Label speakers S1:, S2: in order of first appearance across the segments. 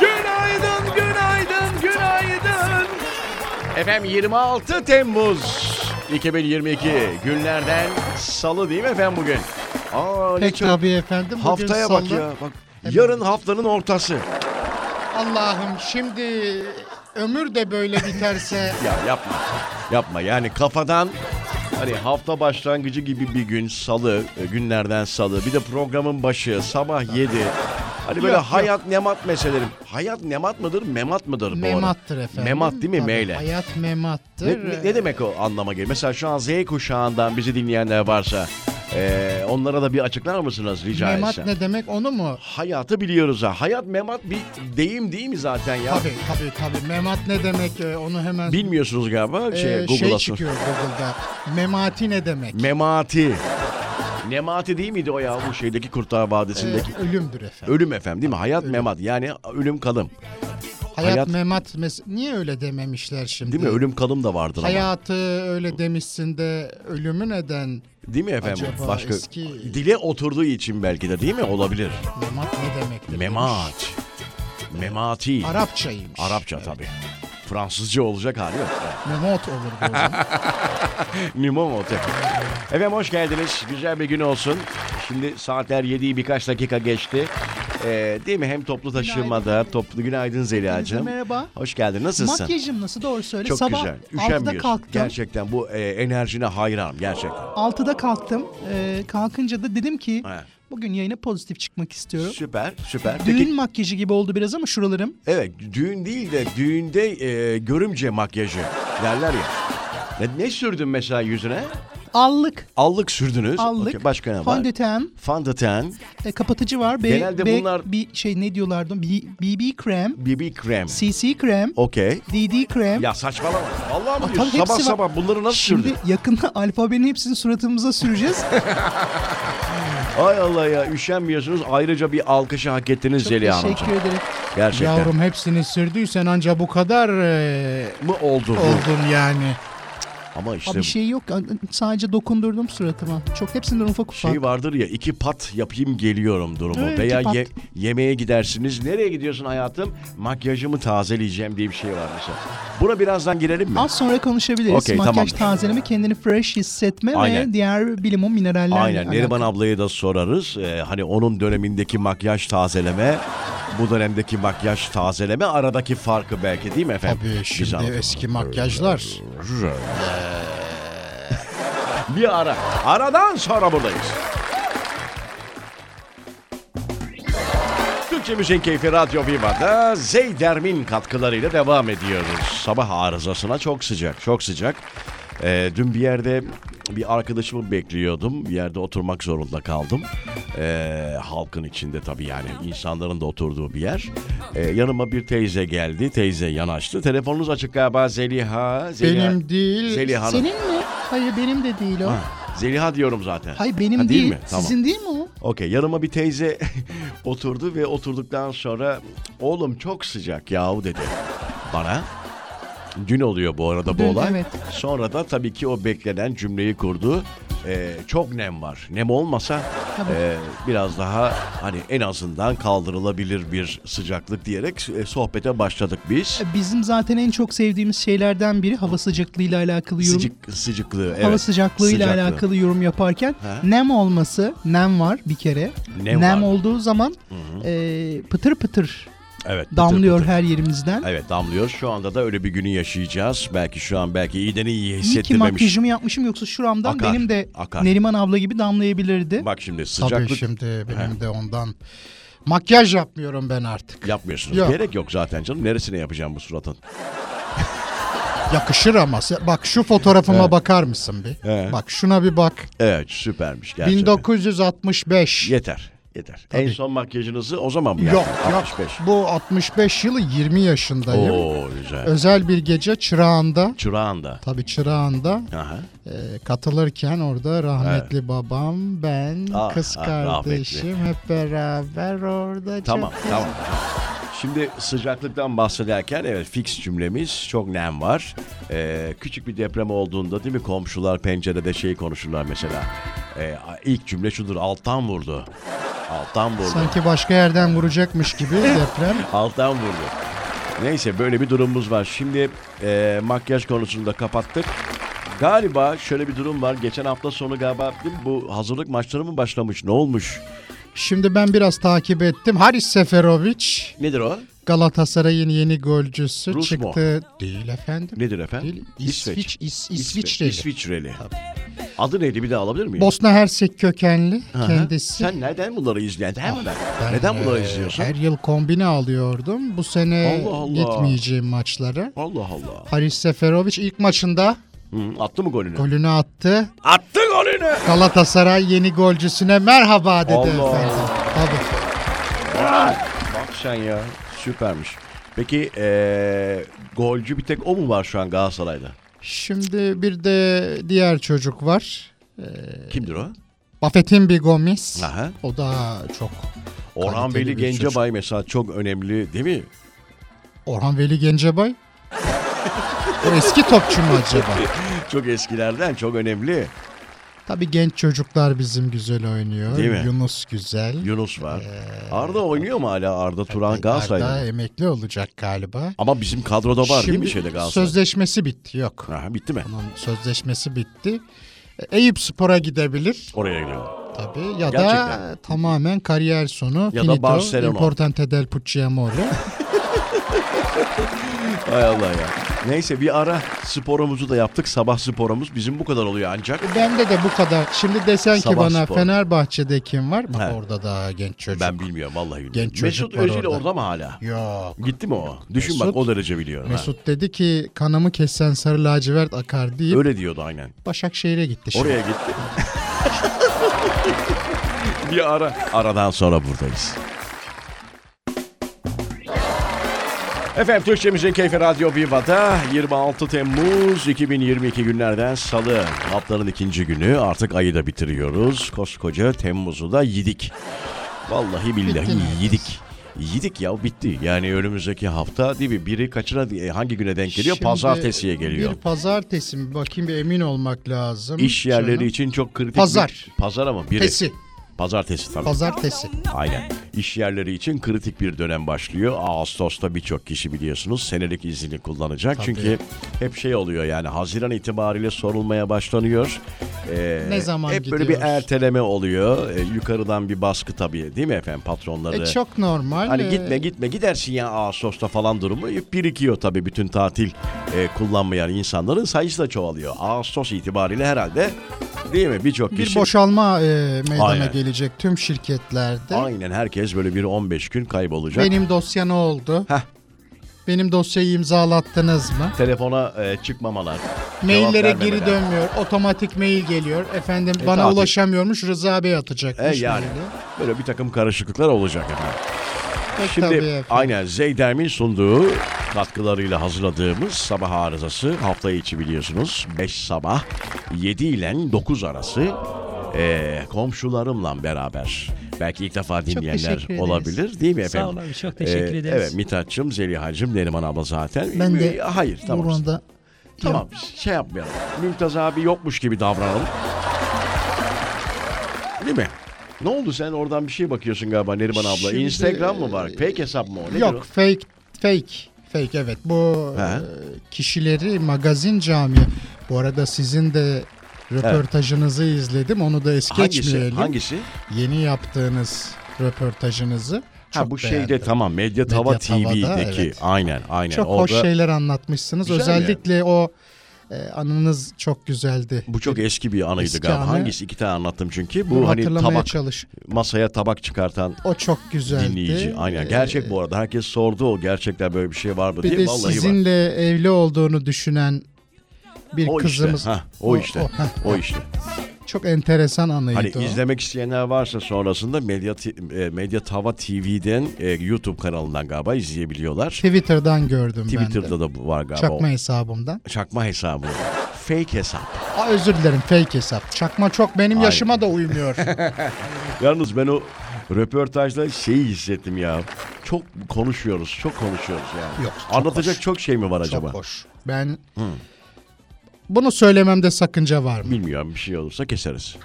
S1: Günaydın, günaydın, günaydın. Efendim 26 Temmuz 2022 günlerden salı değil mi efendim bugün? Aa,
S2: Pek
S1: çok-
S2: tabii efendim. Bugün
S1: haftaya bak
S2: salı.
S1: ya. Bak.
S2: Hemen.
S1: Yarın haftanın ortası.
S2: Allah'ım şimdi ömür de böyle biterse
S1: Ya yapma. Yapma yani kafadan hani hafta başlangıcı gibi bir gün salı, e, günlerden salı. Bir de programın başı sabah 7. Hani böyle
S2: Yok, yok.
S1: hayat nemat meseleleri. Hayat nemat mıdır, memat mıdır bu arada?
S2: memattır efendim.
S1: Memat değil mi
S2: Tabii,
S1: meyle?
S2: Hayat
S1: Ne,
S2: memattır.
S1: ne- ne demek o anlama geliyor? Mesela şu an Z kuşağından bizi dinleyenler varsa e, onlara da bir açıklar mısınız rica
S2: Memat
S1: etsem?
S2: ne demek onu mu?
S1: Hayatı biliyoruz ha. Hayat memat bir deyim değil mi zaten ya?
S2: Tabii tabii tabii. Memat ne demek e, onu hemen
S1: Bilmiyorsunuz galiba
S2: e,
S1: şey Google'a
S2: şey
S1: sor-
S2: çıkıyor Google'da. Memati ne demek?
S1: Memati. Nemati değil miydi o ya bu şeydeki Kurtlar
S2: E,
S1: Vadisi'ndeki?
S2: ölümdür efendim.
S1: Ölüm efendim değil mi? Hayat memat yani ölüm kalım.
S2: hayat,
S1: hayat-
S2: memat mes- niye öyle dememişler şimdi?
S1: Değil mi? Ölüm kalım da vardır ama.
S2: Hayatı öyle demişsin de ölümü neden
S1: Değil mi efendim?
S2: Acaba
S1: Başka
S2: eski-
S1: dile oturduğu için belki de değil mi? Olabilir.
S2: memat ne demektir? demiş.
S1: Memat. Memati.
S2: Arapçaymış.
S1: Arapça tabii. Fransızca olacak hali yok.
S2: Memot olur bu o zaman.
S1: Mimomote. Efendim hoş geldiniz. Güzel bir gün olsun. Şimdi saatler 7'yi birkaç dakika geçti. Ee, değil mi? Hem toplu taşımada, toplu günaydın Zeliha'cığım.
S3: merhaba.
S1: Hoş geldin. Nasılsın?
S3: Makyajım nasıl doğru söyle.
S1: Çok
S3: Sabah
S1: güzel.
S3: 6'da
S1: Üşenmiyorsun.
S3: kalktım.
S1: Gerçekten bu e, enerjine hayranım gerçekten.
S3: 6'da kalktım. Ee, kalkınca da dedim ki
S1: He.
S3: bugün yayına pozitif çıkmak istiyorum.
S1: Süper, süper.
S3: Düğün
S1: Peki
S3: makyajı gibi oldu biraz ama şuralarım.
S1: evet düğün değil de düğünde e, görümce makyajı derler ya. Ne, ne sürdün mesela yüzüne?
S3: Allık,
S1: Allık sürdünüz.
S3: allık.
S1: Okey, başka ne var?
S3: Fondöten,
S1: Fondöten,
S3: e, kapatıcı var. B,
S1: Genelde
S3: B-
S1: bunlar-
S3: bir şey ne diyorlardı? B- BB krem,
S1: BB krem.
S3: CC krem,
S1: Okey.
S3: DD krem.
S1: Ya saçmalama. Allah mı
S3: Aa,
S1: diyorsun?
S3: tabii hepsi
S1: Sabah
S3: var.
S1: sabah bunları nasıl
S3: Şimdi
S1: sürdün?
S3: yakında alfabenin hepsini suratımıza süreceğiz.
S1: Ay Allah ya üşenmiyorsunuz. Ayrıca bir alkışı hak ettiniz Zeliha Hanım.
S3: Teşekkür ederim.
S1: Gerçekten.
S2: Yavrum hepsini sürdüysen anca bu kadar e,
S1: Mı oldu bu?
S2: oldun yani.
S1: Ama
S3: Aa,
S1: işte
S3: bir şey yok. Sadece dokundurdum suratıma. Çok hepsinden ufak ufak.
S1: şey vardır ya iki pat yapayım geliyorum durumu.
S3: Evet,
S1: Veya
S3: iki pat.
S1: ye- yemeğe gidersiniz. Nereye gidiyorsun hayatım? Makyajımı tazeleyeceğim diye bir şey var mesela. Buna birazdan girelim mi?
S3: Az sonra konuşabiliriz.
S1: Okey,
S3: Makyaj
S1: tamamdır.
S3: tazeleme, kendini fresh hissetme
S1: Aynen.
S3: ve diğer bilimum minerallerle
S1: Aynen.
S3: alakalı.
S1: Neriman ablaya da sorarız. Ee, hani onun dönemindeki makyaj tazeleme, bu dönemdeki makyaj tazeleme aradaki farkı belki değil mi efendim?
S2: Tabii
S1: Biz
S2: şimdi
S1: anlatalım.
S2: eski makyajlar.
S1: Bir ara. Aradan sonra buradayız. Türkçe Müziğin Keyfi Radyo Viva'da Zeydermin katkılarıyla devam ediyoruz. Sabah arızasına çok sıcak, çok sıcak. Ee, dün bir yerde bir arkadaşımı bekliyordum. Bir yerde oturmak zorunda kaldım. Ee, halkın içinde tabii yani insanların da oturduğu bir yer. Ee, yanıma bir teyze geldi. Teyze yanaştı. Telefonunuz açık galiba Zeliha. Zeliha-
S2: Benim değil.
S1: Zeliha Hanım.
S3: Ee, Senin mi? Hayır benim de değil o.
S1: Zeliha diyorum zaten.
S3: Hayır benim
S1: Ha,
S3: değil.
S1: mi? Tamam.
S3: Sizin değil mi o?
S1: Okey yanıma bir teyze oturdu ve oturduktan sonra oğlum çok sıcak yahu dedi bana. Dün oluyor bu arada bu
S3: Dün,
S1: olay.
S3: evet.
S1: Sonra da tabii ki o beklenen cümleyi kurdu. Ee, çok nem var. Nem olmasa
S3: Tabii.
S1: e, biraz daha hani en azından kaldırılabilir bir sıcaklık diyerek e, sohbete başladık biz.
S3: E, Bizim zaten en çok sevdiğimiz şeylerden biri hava sıcaklığıyla alakalı yorum.
S1: Sıcık, sıcıklığı. Evet.
S3: Hava sıcaklığıyla
S1: Sıcaklığı.
S3: alakalı yorum yaparken
S1: Ha?
S3: nem olması, nem var bir kere.
S1: Nem var.
S3: olduğu zaman e, pıtır pıtır
S1: Evet. pıtır
S3: damlıyor
S1: pıtır.
S3: her yerimizden.
S1: Evet damlıyor. Şu anda da öyle bir günü yaşayacağız. Belki şu an belki iyiden iyi
S3: İyi ki
S1: hissettirmemiş.
S3: makyajımı yapmışım yoksa şuramdan
S1: Akar,
S3: benim de
S1: akar.
S3: Neriman abla gibi damlayabilirdi.
S1: Bak şimdi
S2: Tabii
S1: sıcaklık
S2: şimdi benim de ondan. Makyaj yapmıyorum ben artık.
S1: yapmıyorsunuz.
S2: Yok.
S1: Gerek yok zaten canım. Neresine yapacağım bu suratın?
S2: Yakışır ama. se- Bak şu fotoğrafıma bakar mısın bir?
S1: Evet.
S2: Bak şuna bir bak.
S1: Evet süpermiş gerçekten.
S2: 1965.
S1: Yeter. Yeter. En son makyajınızı o zaman mı
S2: Yok
S1: yaptın?
S2: yok.
S1: 65.
S2: Bu 65 yılı 20 yaşındayım.
S1: Oo güzel.
S2: Özel bir gece çırağında.
S1: Çırağında.
S2: Tabii çırağında
S1: Aha.
S2: e, katılırken orada rahmetli babam, ben,
S1: Ah,
S2: kız
S1: ah,
S2: kardeşim hep beraber orada.
S1: Tamam
S2: çok-
S1: tamam. Şimdi sıcaklıktan bahsederken evet fix cümlemiz çok nem var. Ee, küçük bir deprem olduğunda değil mi komşular pencerede şey konuşurlar mesela. Ee, ilk cümle şudur alttan vurdu. Alttan vurdu.
S2: Sanki başka yerden vuracakmış gibi deprem.
S1: Alttan vurdu. Neyse böyle bir durumumuz var. Şimdi e, makyaj konusunu da kapattık. Galiba şöyle bir durum var. Geçen hafta sonu galiba değil mi? bu hazırlık maçları mı başlamış? Ne olmuş?
S2: Şimdi ben biraz takip ettim. Haris Seferovic
S1: Nedir o?
S2: Galatasaray'ın yeni golcüsü
S1: Rus mu?
S2: çıktı. Değil efendim.
S1: Nedir efendim?
S2: Değil. İsviç, İs, İsviçreli.
S1: İsviçreli. İsviçreli. Adı neydi bir daha alabilir miyim?
S2: Bosna Hersek kökenli
S1: Aha.
S2: kendisi.
S1: Sen nereden bunları izliyorsun? Değil mi ben?
S2: Ben,
S1: Neden bunları
S2: e,
S1: izliyorsun?
S2: Her yıl kombine alıyordum. Bu sene
S1: Allah Allah.
S2: gitmeyeceğim maçlara.
S1: Allah Allah.
S2: Haris Seferovic ilk maçında
S1: Hı, attı mı golünü?
S2: golünü attı.
S1: Attı golünü!
S2: Galatasaray yeni golcüsüne merhaba dedi
S1: Allah.
S2: efendim. Tabii.
S1: Bak sen ya. Süpermiş. Peki eee, golcü bir tek o mu var şu an Galatasaray'da?
S2: Şimdi bir de diğer çocuk var.
S1: Kimdir o?
S2: Buffett'in bir Gomis.
S1: Aha.
S2: O da çok.
S1: Orhan
S2: kaliteli
S1: Veli
S2: bir çocuk.
S1: Gencebay mesela çok önemli değil mi?
S2: Orhan Veli Gencebay. o eski topçu mu acaba?
S1: Çok eskilerden çok önemli.
S2: Tabii genç çocuklar bizim güzel oynuyor.
S1: Değil mi?
S2: Yunus güzel.
S1: Yunus var. Arda oynuyor mu hala Arda Turan
S2: Arda
S1: Galatasaray'da?
S2: emekli olacak galiba.
S1: Ama bizim kadroda var değil mi
S2: Şimdi
S1: şeyde Galatasaray?
S2: sözleşmesi bitti yok.
S1: Aha, bitti mi?
S2: Onun sözleşmesi bitti. E, Eyüp Spor'a gidebilir
S1: Oraya gidiyor.
S2: tabii ya
S1: Gerçekten.
S2: da tamamen kariyer sonu.
S1: da
S2: Finito,
S1: Barcelona.
S2: Importante del Pucciamore.
S1: Hay Allah ya. Neyse bir ara sporumuzu da yaptık. Sabah sporumuz bizim bu kadar oluyor ancak.
S2: E, Bende de bu kadar. Şimdi desen ki
S1: Sabah
S2: bana
S1: spor.
S2: Fenerbahçe'de kim var? Bak
S1: He.
S2: orada da genç çocuk.
S1: Ben bilmiyorum vallahi bilmiyorum.
S2: Genç
S1: Mesut
S2: çocuk var
S1: Özil orada.
S2: orada.
S1: mı hala?
S2: Yok.
S1: Gitti mi o? Düşün
S2: Mesut-
S1: bak o derece biliyorum. ha.
S2: Mesut dedi ki kanamı kessen sarı lacivert akar deyip
S1: Öyle diyordu aynen.
S2: Başakşehir'e gitti şimdi.
S1: Oraya gitti. bir ara. Aradan sonra buradayız. Efendim Türkçemizin Keyfi Radyo Viva'da 26 Temmuz 2022 günlerden salı. Haftanın ikinci günü artık ayı da bitiriyoruz. Koskoca Temmuz'u da yedik. Vallahi billahi
S2: Bitti neredeyse.
S1: yedik. Yedik ya bitti. Yani önümüzdeki hafta değil mi? Biri kaçına e, hangi güne denk geliyor?
S2: Şimdi
S1: Pazartesiye geliyor.
S2: Bir pazartesi mi? Bakayım bir emin olmak lazım.
S1: İş yerleri
S2: Canım.
S1: için çok kritik
S2: Pazar.
S1: bir... Pazar ama biri.
S2: Tesi.
S1: Pazartesi tabii.
S2: Pazartesi. E,
S1: Aynen. İş yerleri için kritik bir dönem başlıyor. Ağustos'ta birçok kişi biliyorsunuz senelik izni kullanacak. Çünkü hep şey oluyor yani Haziran itibariyle sorulmaya başlanıyor. Ee,
S2: Ne zaman
S1: Hep böyle bir
S2: gidiyoruz?
S1: erteleme oluyor. Ee, yukarıdan bir baskı tabii değil mi efendim patronları?
S2: E çok normal.
S1: Hani
S2: E,
S1: gitme gitme gidersin ya Ağustos'ta falan durumu birikiyor tabii bütün tatil e, kullanmayan insanların sayısı da çoğalıyor. Ağustos itibariyle herhalde değil mi birçok
S2: Bir
S1: kişi
S2: boşalma e, meydana
S1: Aynen.
S2: gelecek tüm şirketlerde.
S1: Aynen herkes böyle bir 15 gün kaybolacak.
S2: Benim dosya ne oldu?
S1: Heh.
S2: Benim dosyayı imzalattınız mı?
S1: Telefona e, çıkmamalar.
S2: Maillere
S1: cevap
S2: geri
S1: vermemeler.
S2: dönmüyor. Otomatik mail geliyor. Efendim
S1: E,
S2: bana
S1: tabii.
S2: ulaşamıyormuş. Rıza Bey atacakmış.
S1: E, yani
S2: maili.
S1: böyle bir takım karışıklıklar olacak efendim.
S2: Pek
S1: Şimdi
S2: tabii efendim.
S1: aynen Zeydermin sunduğu katkılarıyla hazırladığımız sabah arızası hafta içi biliyorsunuz 5 sabah 7 ile 9 arası e, komşularımla beraber belki ilk defa dinleyenler
S3: teşekkür ederiz.
S1: olabilir değil mi efendim?
S3: olun, çok teşekkür
S1: E,
S3: ederiz.
S1: Evet Mithat'cığım, Zeliha'cığım, Neriman abla zaten.
S2: Ben de
S1: E, Hayır tamam.
S2: Buradan da
S1: Tamam şey yapmayalım. Mümtaz abi yokmuş gibi davranalım. Değil mi? Ne oldu sen oradan bir şey bakıyorsun galiba Neriman abla.
S2: Şimdi- e,
S1: Instagram mı var? Fake hesap mı o? Nedir
S2: Yok fake fake fake evet bu
S1: He.
S2: e, kişileri magazin camii. Bu arada sizin de röportajınızı izledim onu da es
S1: o? Hangisi?
S2: geçmeyelim.
S1: Hangisi?
S2: Yeni yaptığınız röportajınızı.
S1: Ha
S2: çok
S1: bu
S2: beğendim.
S1: şeyde tamam Medya Tava
S2: Medyatava'da,
S1: TV'deki.
S2: evet.
S1: Aynen aynen.
S2: Çok hoş şey, şeyler anlatmışsınız.
S1: Güzel
S2: Özellikle o e, anınız çok güzeldi.
S1: Bu çok eski bir anıydı
S2: Eski
S1: galiba.
S2: anı.
S1: Hangisi? İki tane anlattım çünkü.
S2: Bunu
S1: Bu hani
S2: hatırlamaya
S1: tabak
S2: çalış.
S1: masaya tabak çıkartan
S2: O çok güzeldi.
S1: dinleyici. Aynen.
S2: E,
S1: Gerçek bu arada. Herkes sordu o gerçekten böyle bir şey var mı
S2: Bir
S1: diye.
S2: de
S1: Vallahi var.
S2: sizinle evli olduğunu düşünen bir
S1: O
S2: kızımız.
S1: işte. Ha, o işte.
S2: heh.
S1: O işte.
S2: Çok enteresan anıydı
S1: Hani
S2: o.
S1: izlemek isteyenler varsa sonrasında Medya e, Medya Tava TV'den e, YouTube kanalından galiba izleyebiliyorlar.
S2: Twitter'dan gördüm ben de.
S1: Twitter'da da bu var galiba.
S2: Çakma hesabımdan.
S1: O Çakma hesabı. Fake hesap.
S2: Aa, özür dilerim fake hesap. Çakma çok benim
S1: Aynen.
S2: yaşıma da uymuyor.
S1: Yalnız ben o röportajda şeyi hissettim ya. Çok konuşuyoruz, çok konuşuyoruz yani.
S2: Yok, çok
S1: Anlatacak
S2: hoş.
S1: çok şey mi var acaba?
S2: çok hoş. Ben bunu söylememde sakınca var mı?
S1: Bilmiyorum bir şey olursa keseriz.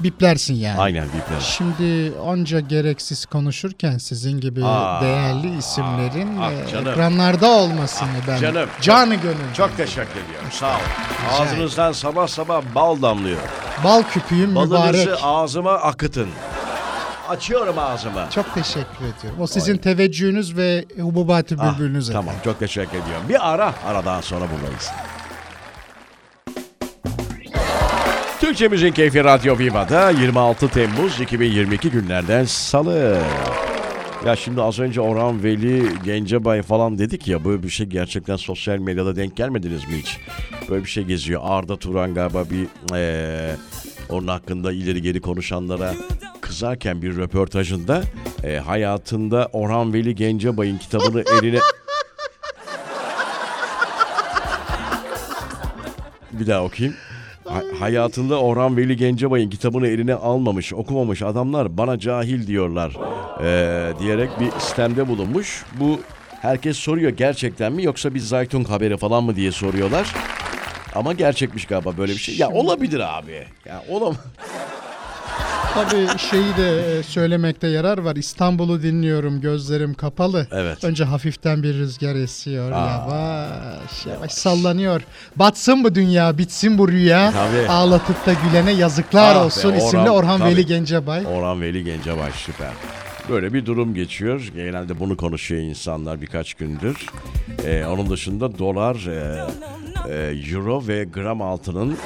S2: biplersin yani.
S1: Aynen bipler.
S2: Şimdi onca gereksiz konuşurken sizin gibi
S1: Aa,
S2: değerli isimlerin
S1: ah
S2: e,
S1: canım. Ah,
S2: ekranlarda olmasını ben
S1: canım.
S2: canı gönül.
S1: Çok teşekkür ediyorum. Sağ ol.
S2: Rica
S1: Ağzınızdan sabah sabah bal damlıyor.
S2: Bal küpüyüm mübarek.
S1: Balınızı ağzıma akıtın. Açıyorum ağzımı.
S2: Çok teşekkür ediyorum. O sizin teveccühünüz ve hububatı
S1: Ah,
S2: bülbülünüz.
S1: tamam çok teşekkür ediyorum. Bir ara aradan sonra buradayız. Türkçe Müzik Keyfi Radyo Viva'da 26 Temmuz 2022 günlerden salı. Ya şimdi az önce Orhan Veli, Gencebay falan dedik ya böyle bir şey gerçekten sosyal medyada denk gelmediniz mi hiç? Böyle bir şey geziyor. Arda Turan galiba bir eee, onun hakkında ileri geri konuşanlara kızarken bir röportajında eee, hayatında Orhan Veli Gencebay'ın kitabını eline... bir daha okuyayım. Ha- hayatında Orhan Veli Gencebay'ın kitabını eline almamış, okumamış adamlar bana cahil diyorlar ee, diyerek bir sistemde bulunmuş. Bu herkes soruyor gerçekten mi yoksa bir Zaytun haberi falan mı diye soruyorlar. Ama gerçekmiş galiba böyle bir şey. Ya olabilir abi. Ya olam.
S2: Tabii şeyi de e, söylemekte yarar var. İstanbul'u dinliyorum gözlerim kapalı.
S1: Evet.
S2: Önce hafiften bir rüzgar esiyor yavaş yavaş sallanıyor. Batsın bu dünya bitsin bu rüya.
S1: Tabii.
S2: Ağlatıp da gülene yazıklar
S1: Ah be,
S2: olsun
S1: Orhan-
S2: isimli Orhan
S1: tabii.
S2: Veli Gencebay.
S1: Orhan Veli Gencebay süper. Böyle bir durum geçiyor. Genelde bunu konuşuyor insanlar birkaç gündür. Ee, onun dışında dolar, e, e, euro ve gram altının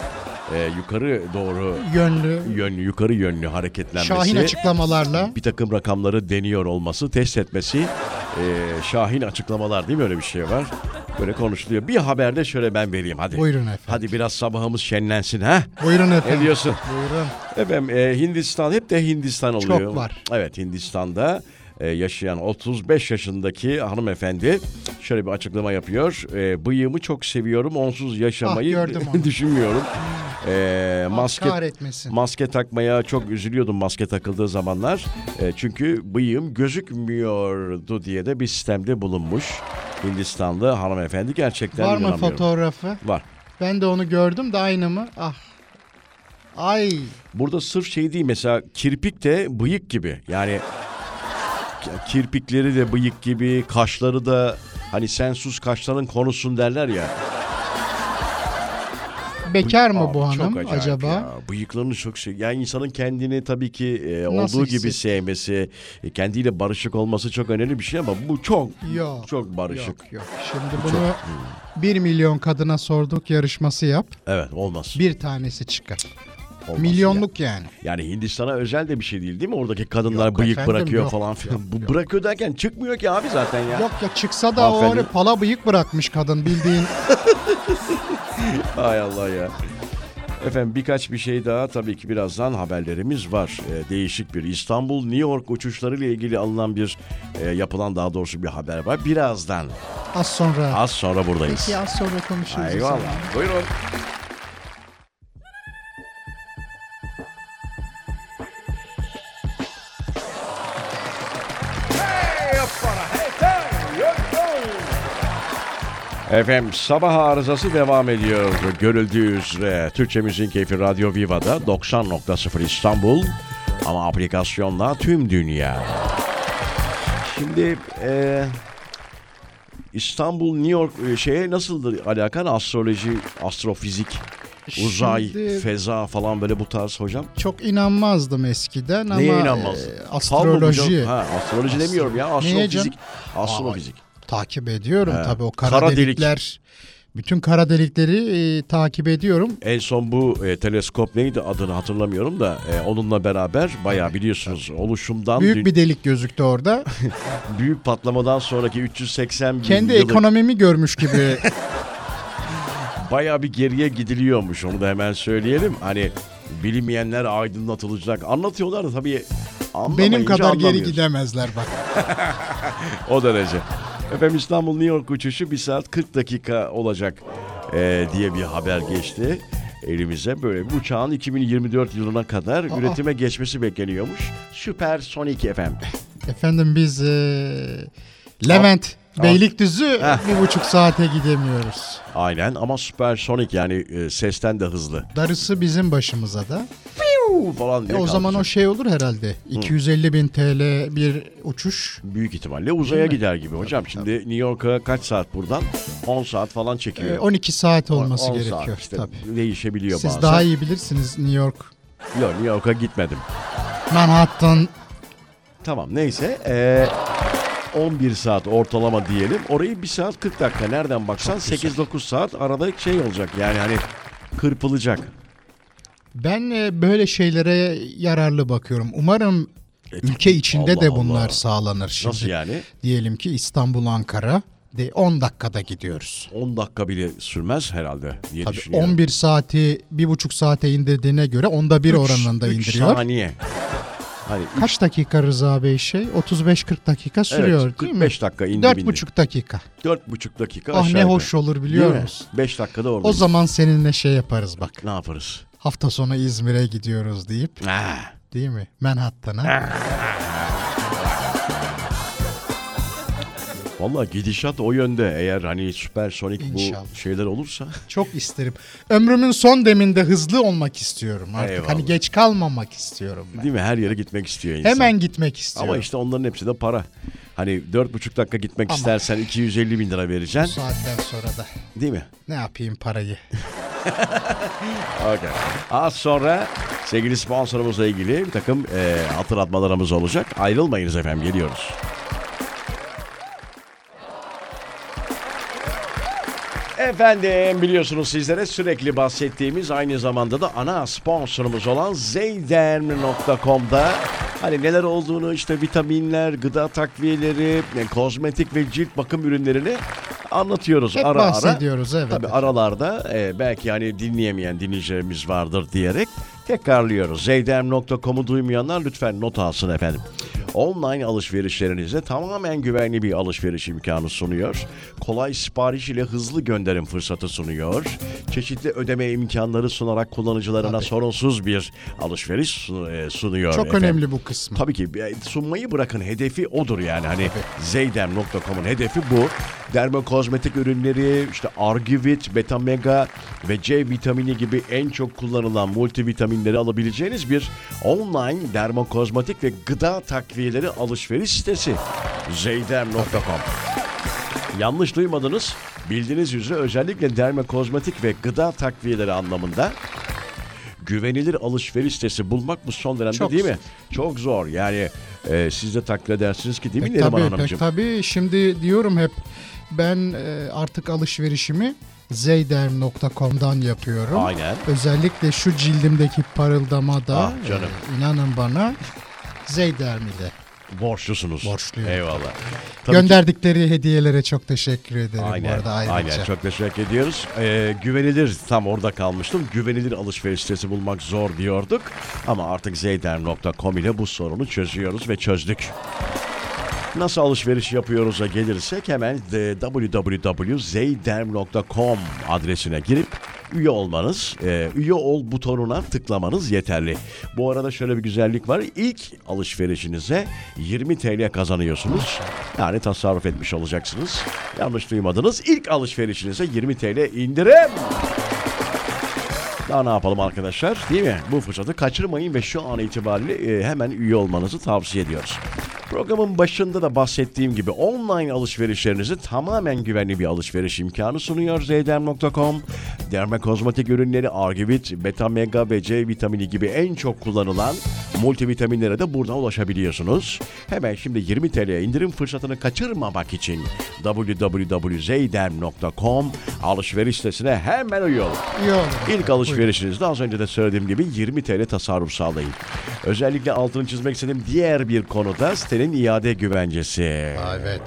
S1: e, yukarı doğru
S2: Yönlü
S1: yönlü yukarı yönlü hareketlenmesi.
S2: şahin açıklamalarla.
S1: bir takım rakamları deniyor olması, test etmesi, e, şahin açıklamalar değil mi öyle bir şey var? Böyle konuşuluyor. Bir haberde şöyle ben vereyim hadi.
S2: Buyurun efendim.
S1: Hadi biraz sabahımız şenlensin ha.
S2: Buyurun efendim.
S1: Ne diyorsun?
S2: Buyurun.
S1: Efendim e, Hindistan hep de Hindistan oluyor.
S2: Çok var.
S1: Evet Hindistan'da e, yaşayan 35 yaşındaki hanımefendi şöyle bir açıklama yapıyor. E, bıyığımı çok seviyorum onsuz yaşamayı
S2: Ah, gördüm onu.
S1: düşünmüyorum. E, maske,
S2: kahretmesin.
S1: maske takmaya çok üzülüyordum maske takıldığı zamanlar. E, çünkü bıyığım gözükmüyordu diye de bir sistemde bulunmuş. Hindistanlı hanımefendi gerçekten
S2: Var mı
S1: inanamıyorum.
S2: fotoğrafı?
S1: Var.
S2: Ben de onu gördüm de aynı mı? Ah. Ay.
S1: Burada sırf şey değil mesela kirpik de bıyık gibi. Yani kirpikleri de bıyık gibi, kaşları da hani sen sus kaşların konusun derler ya.
S2: Bekar mı bu
S1: Abi çok
S2: hanım
S1: acayip
S2: acaba?
S1: ya. Bıyıklarını çok sev- Yani insanın kendini tabii ki e,
S2: Nasıl
S1: olduğu gibi
S2: hisset-
S1: sevmesi, e, kendiyle barışık olması çok önemli bir şey ama bu çok
S2: Yok,
S1: çok barışık.
S2: Yok yok. Şimdi bunu 1 milyon kadına sorduk yarışması yap.
S1: Evet olmaz.
S2: Bir tanesi çıkar.
S1: Olmaz.
S2: Milyonluk yani.
S1: Yani Hindistan'a özel de bir şey değil değil mi? Oradaki kadınlar
S2: Yok
S1: bıyık
S2: efendim,
S1: bırakıyor
S2: yok,
S1: falan filan. Bu bırakıyor derken çıkmıyor ki abi zaten ya.
S2: Yok ya çıksa da o
S1: Hanımefendi-
S2: öyle pala bıyık bırakmış kadın bildiğin.
S1: Ay Allah ya. Efendim birkaç bir şey daha tabii ki birazdan haberlerimiz var. Ee, değişik bir İstanbul New York uçuşları ile ilgili alınan bir e, yapılan daha doğrusu bir haber var. Birazdan
S2: Az sonra.
S1: az sonra buradayız.
S2: Peki az sonra konuşuruz. o zaman.
S1: Eyvallah. Buyurun. Efendim sabah arızası devam ediyor. Görüldüğü üzere Türkçe Müzik Keyfi Radyo Viva'da 90.0 İstanbul ama aplikasyonla tüm dünya. Şimdi eee İstanbul, New York e, şeye nasıldır alakan astroloji, astrofizik, uzay,
S2: Şimdi-
S1: feza falan böyle bu tarz hocam?
S2: Çok inanmazdım eskiden ama
S1: Neye inanmaz?
S2: e,
S1: Fallo mu
S2: astroloji
S1: hocam? Ha, astroloji demiyorum ya.
S2: Neye canım?
S1: Astrofizik. Astrofizik.
S2: takip ediyorum tabii o kara,
S1: Kara delik.
S2: delikler. Bütün kara delikleri e, takip ediyorum.
S1: En son bu e, teleskop neydi adını hatırlamıyorum da e, onunla beraber bayağı biliyorsunuz oluşumdan dün-
S2: Büyük bir delik gözüktü orada.
S1: büyük patlamadan sonraki 380 bin
S2: Kendi
S1: yıllık-
S2: ekonomimi görmüş gibi
S1: bayağı bir geriye gidiliyormuş onu da hemen söyleyelim. Hani bilinmeyenler aydınlatılacak. Anlatıyorlar da tabii
S2: benim
S1: anlamayınca
S2: kadar geri
S1: anlamıyorsun.
S2: gidemezler bak.
S1: O derece. Efendim İstanbul New York uçuşu 1 saat 40 dakika olacak eee, diye bir haber geçti elimize. Böyle bir uçağın 2024 yılına kadar üretime geçmesi bekleniyormuş. Süpersonik efendim.
S2: Efendim biz eee, Levent Beylikdüzü bir buçuk saate gidemiyoruz.
S1: Aynen ama süpersonik yani e, sesten de hızlı.
S2: Darısı bizim başımıza da.
S1: "Piu!" falan
S2: E,
S1: diye
S2: o zaman o
S1: kalkacak.
S2: şey olur herhalde. 250 bin TL bir uçuş.
S1: Büyük ihtimalle uzaya gider gibi hocam. Şimdi New York'a kaç saat buradan? 10 saat falan
S2: E,
S1: çekiyor.
S2: 12 saat olması
S1: 10 saat
S2: gerekiyor.
S1: işte
S2: Tabii.
S1: Değişebiliyor
S2: Siz
S1: bazen.
S2: daha iyi bilirsiniz New York,
S1: Yok New York'a gitmedim.
S2: Manhattan.
S1: Tamam neyse. eee, 11 saat ortalama diyelim. Orayı 1 saat 40 dakika. Nereden baksan 8-9 saat arada şey olacak. Yani hani kırpılacak.
S2: Ben e, böyle şeylere yararlı bakıyorum. Umarım ülke içinde
S1: E, Allah
S2: de bunlar
S1: Allah.
S2: sağlanır şimdi.
S1: Nasıl yani?
S2: Diyelim ki İstanbul Ankara de 10 dakikada gidiyoruz.
S1: 10 dakika bile sürmez herhalde diye
S2: Tabii
S1: düşünüyorum.
S2: 11 saati bir buçuk saate indirdiğine göre onda bir oranında
S1: Üç
S2: indiriyor.
S1: saniye. Hani üç-
S2: Kaç dakika Rıza Bey şey? 35-40 dakika
S1: evet,
S2: sürüyor değil mi?
S1: 45 dakika indi
S2: Dört
S1: bindi.
S2: buçuk dakika.
S1: Dört buçuk dakika
S2: Ah
S1: aşağı
S2: ne
S1: yukarı.
S2: hoş olur
S1: Değil
S2: biliyor
S1: mi?
S2: musun?
S1: Beş dakikada orada.
S2: O zaman seninle şey yaparız bak.
S1: ne yaparız?
S2: Hafta sonu İzmir'e gidiyoruz deyip
S1: Ah,
S2: değil mi? Manhattan'a.
S1: Valla gidişat o yönde. Eğer hani süpersonik bu
S2: İnşallah.
S1: şeyler olursa.
S2: Çok isterim. Ömrümün son deminde hızlı olmak istiyorum artık. Hani
S1: Eyvallah.
S2: geç kalmamak istiyorum ben.
S1: Değil mi? Her yere gitmek istiyor insan.
S2: Hemen gitmek istiyorum.
S1: Ama işte onların hepsi de para. Hani dört buçuk dakika gitmek
S2: Ama-
S1: istersen 250 bin lira
S2: Bu
S1: vereceksin.
S2: saatten sonra da
S1: Değil mi?
S2: ne yapayım parayı?
S1: Okay. Az sonra sevgili sponsorumuzla ilgili bir takım eee, hatırlatmalarımız olacak. Ayrılmayınız efendim geliyoruz. Efendim biliyorsunuz sizlere sürekli bahsettiğimiz aynı zamanda da ana sponsorumuz olan zeyderm.com'da hani neler olduğunu işte vitaminler, gıda takviyeleri, yani kozmetik ve cilt bakım ürünlerini anlatıyoruz
S2: Hep
S1: ara ara.
S2: bahsediyoruz evet.
S1: Tabii aralarda e, belki hani dinleyemeyen dinleyicilerimiz vardır diyerek tekrarlıyoruz. Zeydem.com'u duymayanlar lütfen not alsın efendim. Online alışverişlerinizde tamamen güvenli bir alışveriş imkanı sunuyor. Kolay sipariş ile hızlı gönderim fırsatı sunuyor. Çeşitli ödeme imkanları sunarak kullanıcılarına
S2: Tabii.
S1: sorunsuz bir alışveriş sun- e, sunuyor.
S2: Çok
S1: efendim.
S2: önemli bu kısmı.
S1: Tabii ki e, sunmayı bırakın hedefi odur yani hani zeydem.com'un hedefi bu. Dermo kozmetik ürünleri işte Argivit, Beta Mega ve C vitamini gibi en çok kullanılan multivitaminleri alabileceğiniz bir online dermo kozmetik ve gıda takviyeleri alışveriş sitesi zeydem.com. Yanlış duymadınız. Bildiğiniz üzere özellikle derme kozmetik ve gıda takviyeleri anlamında güvenilir alışveriş sitesi bulmak bu son dönemde
S2: Çok
S1: değil mi? Çok zor. Yani e, siz de takdir edersiniz ki değil mi
S2: Pek
S1: Neriman
S2: E, tabii,
S1: Hanımcığım?
S2: pek tabii. Şimdi diyorum hep ben e, artık alışverişimi zeyderm.com'dan yapıyorum.
S1: Aynen.
S2: Özellikle şu cildimdeki parıldama da
S1: Ah canım.
S2: e, inanın bana Zeyderm ile.
S1: Borçlusunuz.
S2: Borçluyum.
S1: Eyvallah. Tabii ki-
S2: Gönderdikleri hediyelere çok teşekkür ederim bu
S1: Aynen,
S2: arada ayrıca.
S1: aynen. Çok teşekkür ediyoruz. Ee, güvenilir, tam orada kalmıştım. Güvenilir alışveriş sitesi bulmak zor diyorduk. Ama artık zeyder.com ile bu sorunu çözüyoruz ve çözdük. Nasıl alışveriş yapıyoruz'a gelirsek hemen de www.zeyderm.com adresine girip üye olmanız, e, üye ol butonuna tıklamanız yeterli. Bu arada şöyle bir güzellik var. İlk alışverişinize 20 TL kazanıyorsunuz. Yani tasarruf etmiş olacaksınız. Yanlış duymadınız. İlk alışverişinize 20 TL indirim. Daha ne yapalım arkadaşlar değil mi? Bu fırsatı kaçırmayın ve şu an itibariyle e, hemen üye olmanızı tavsiye ediyoruz. Programın başında da bahsettiğim gibi online alışverişlerinizi tamamen güvenli bir alışveriş imkanı sunuyor Zeyderm.com. Derme kozmetik ürünleri Argivit, Beta Mega ve C vitamini gibi en çok kullanılan multivitaminlere de buradan ulaşabiliyorsunuz. Hemen şimdi 20 TL'ye indirim fırsatını kaçırmamak için www.zeydem.com alışveriş sitesine hemen üye olun.
S2: İyi olur.
S1: İlk alışverişinizde az önce de söylediğim gibi 20 TL tasarruf sağlayın. Özellikle altını çizmek istediğim diğer bir konuda sitenin iade güvencesi.
S2: Aa, Evet.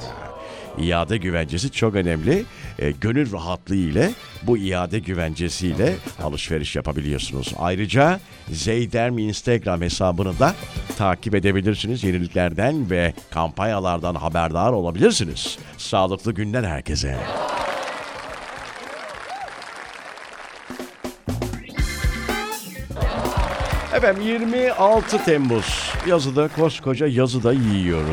S1: İade güvencesi çok önemli. E, gönül rahatlığı ile bu iade güvencesiyle alışveriş yapabiliyorsunuz. Ayrıca Zeyderm Instagram hesabını da takip edebilirsiniz. Yeniliklerden ve kampanyalardan haberdar olabilirsiniz. Sağlıklı günler herkese. Efendim 26 Temmuz yazıda koskoca yazıda yiyoruz.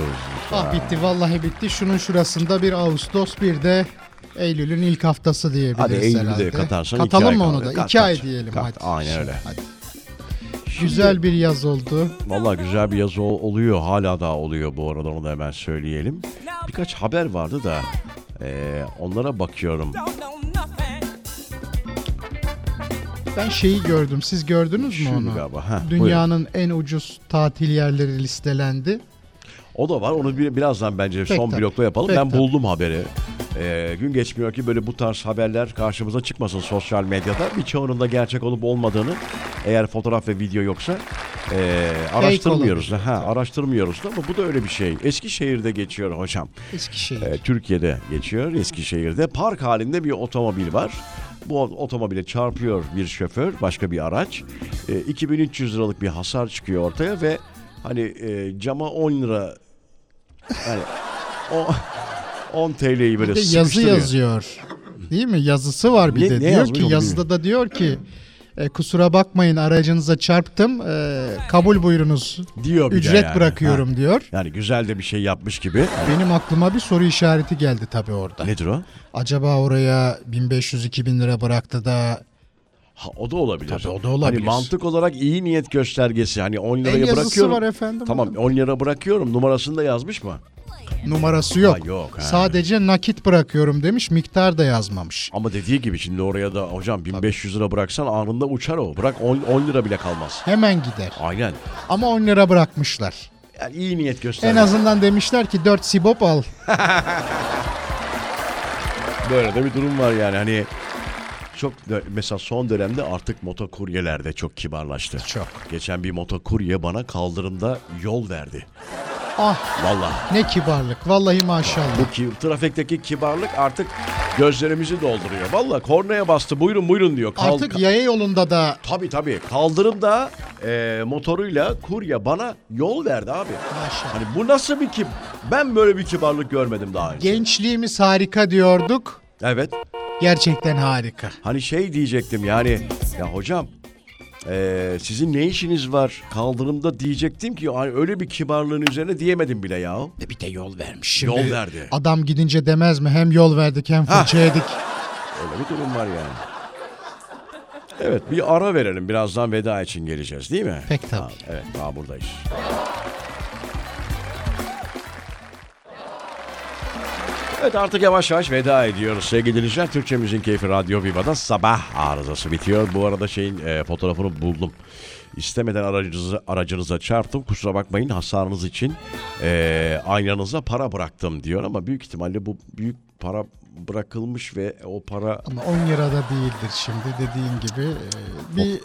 S2: Ah bitti vallahi bitti. Şunun şurasında bir Ağustos bir de Eylül'ün ilk haftası diyebiliriz
S1: Hadi Eylül'ü de
S2: herhalde.
S1: katarsan iki
S2: Katalım
S1: ay
S2: mı onu
S1: kaldı.
S2: da?
S1: Kat,
S2: iki
S1: kat,
S2: ay diyelim
S1: kat.
S2: hadi.
S1: Aynen öyle.
S2: Hadi. Güzel bir yaz oldu.
S1: Valla güzel bir yazı ol- oluyor. Hala daha oluyor bu arada onu da hemen söyleyelim. Birkaç haber vardı da eee, onlara bakıyorum.
S4: Don't know nothing.
S2: Ben şeyi gördüm. Siz gördünüz mü
S1: Şuydu
S2: onu?
S1: galiba, ha,
S2: Dünyanın en ucuz tatil yerleri listelendi.
S1: O da var. Onu bir, birazdan bence
S2: Pek
S1: son
S2: tabii.
S1: blokla yapalım.
S2: Pek
S1: ben
S2: tabii.
S1: buldum haberi. Ee, gün geçmiyor ki böyle bu tarz haberler karşımıza çıkmasın sosyal medyada. Birçoğunun da gerçek olup olmadığını eğer fotoğraf ve video yoksa ee, araştırmıyoruz. da. Ha, araştırmıyoruz da ama bu da öyle bir şey. Eskişehir'de geçiyor hocam.
S2: Eskişehir.
S1: Ee, Türkiye'de geçiyor Eskişehir'de. Park halinde bir otomobil var. Bu otomobile çarpıyor bir şoför, başka bir araç. Ee, 2300 liralık bir hasar çıkıyor ortaya ve hani e, cama 10 lira yani o 10 TL'yi böyle
S2: Bir de yazı
S1: sıkıştırıyor.
S2: yazıyor. Değil mi? Yazısı var bir
S1: Ne-
S2: de.
S1: ne
S2: diyor
S1: yazmış
S2: ki
S1: onu
S2: yazıda da diyor ki e, kusura bakmayın aracınıza çarptım. E, kabul buyurunuz.
S1: diyor bir de
S2: Ücret
S1: yani.
S2: bırakıyorum
S1: Ha.
S2: diyor.
S1: Yani güzel de bir şey yapmış gibi. Yani
S2: Benim aklıma bir soru işareti geldi tabii orada.
S1: nedir o?
S2: Acaba oraya 1500-2000 lira bıraktı da
S1: Ha, o da olabilir.
S2: Tabii o da olabilir.
S1: Hani mantık olarak iyi niyet göstergesi. Hani 10 liraya
S2: yazısı
S1: bırakıyorum.
S2: var efendim
S1: Tamam 10 lira bırakıyorum. Numarasını da yazmış mı?
S2: numarası yok.
S1: Ha, yok, ha.
S2: Sadece nakit bırakıyorum demiş miktar da yazmamış.
S1: Ama dediği gibi şimdi oraya da hocam 1500 lira bıraksan anında uçar o. Bırak 10, 10 lira bile kalmaz.
S2: Hemen gider.
S1: Aynen.
S2: Ama 10 lira bırakmışlar.
S1: Yani iyi niyet göster.
S2: En azından demişler ki 4 sibop al.
S1: Böyle de bir durum var yani hani çok da- mesela son dönemde artık motokuryeler de çok kibarlaştı.
S2: Çok.
S1: Geçen bir motokurye bana kaldırımda yol verdi.
S2: Ah
S1: Vallahi
S2: ne kibarlık. Vallahi maşallah.
S1: bu ki, trafikteki kibarlık artık gözlerimizi dolduruyor. Vallahi kornaya bastı buyurun buyurun diyor. Kal-
S2: Artık yaya yolunda da
S1: Tabii tabii. Kaldırımda e, motoruyla kurye bana yol verdi abi.
S2: Maşallah.
S1: Hani bu nasıl bir kib... Ben böyle bir kibarlık görmedim daha önce.
S2: gençliğimiz harika diyorduk.
S1: Evet.
S2: Gerçekten harika.
S1: Hani şey diyecektim yani. Ya hocam e, sizin ne işiniz var kaldırımda diyecektim ki hani öyle bir kibarlığın üzerine diyemedim bile ya.
S2: Bir de yol vermiş.
S1: yol verdi.
S2: Adam gidince demez mi? Hem yol verdik hem fırça yedik.
S1: Öyle bir durum var yani. Evet bir ara verelim. Birazdan veda için geleceğiz değil mi?
S2: Pek tabii.
S1: Tamam, evet daha buradayız. Evet artık yavaş yavaş veda ediyoruz sevgili dinleyiciler. Türkçemizin keyfi Radyo Viva'da sabah arızası bitiyor. Bu arada şeyin e, fotoğrafını buldum. İstemeden aracınızı, aracınıza çarptım. Kusura bakmayın hasarınız için e, aynanıza para bıraktım diyor. Ama büyük ihtimalle bu büyük para bırakılmış ve o para
S2: Ama 10 lira da değildir şimdi dediğin gibi. Ee, Bir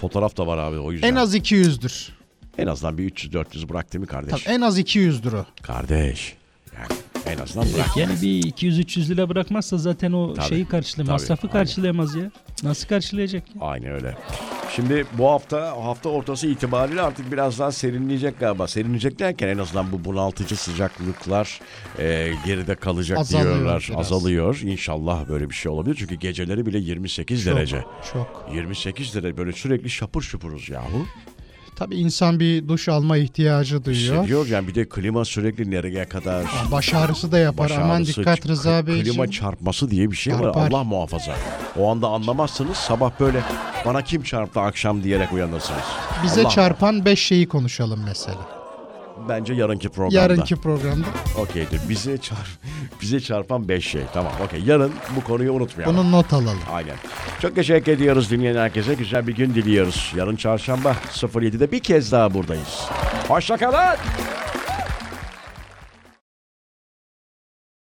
S1: fotoğraf da var abi o yüzden.
S2: en az 200'dür.
S1: en azından bir 300-400 bırak değil mi kardeş?
S2: Tabii en az 200'dür o.
S1: Kardeş. Yani en azından bırak.
S3: Yani bir 200-300 lira bırakmazsa zaten o
S1: Tabii,
S3: şeyi karşılayamaz.
S1: tabii,
S3: Masrafı
S1: aynen.
S3: karşılayamaz ya. Nasıl karşılayacak ya?
S1: Aynen öyle. Şimdi bu hafta hafta ortası itibariyle artık biraz daha serinleyecek galiba. Serinleyecek derken en azından bu bunaltıcı sıcaklıklar e, geride kalacak
S2: Azalıyor
S1: diyorlar.
S2: biraz.
S1: Azalıyor. İnşallah böyle bir şey olabilir. Çünkü geceleri bile 28 derece.
S2: Çok, çok.
S1: 28 derece böyle sürekli şapur şupuruz yahu.
S2: Tabii insan bir duş alma ihtiyacı duyuyor.
S1: Hissediyor yani bir de klima sürekli nereye kadar.
S2: Aa, Baş ağrısı da yapar.
S1: Baş
S2: Aman
S1: ağrısı,
S2: dikkat
S1: kı-
S2: Rıza Beyciğim.
S1: Klima çarpması diye bir şey var.
S2: Çarpar.
S1: Allah muhafaza. O anda anlamazsınız. Sabah böyle bana kim çarptı akşam diyerek uyanırsınız.
S2: Bize
S1: Allah-
S2: çarpan 5 şeyi konuşalım mesela.
S1: Bence yarınki programda.
S2: Yarınki programda.
S1: Okeydir. Bize çarp bize çarpan 5 şey. Tamam. Okey. Yarın bu konuyu unutmayalım.
S2: Bunu not alalım.
S1: Aynen. Çok teşekkür ediyoruz dinleyen herkese. Güzel bir gün diliyoruz. Yarın çarşamba 07'de bir kez daha buradayız. Hoşça kalın.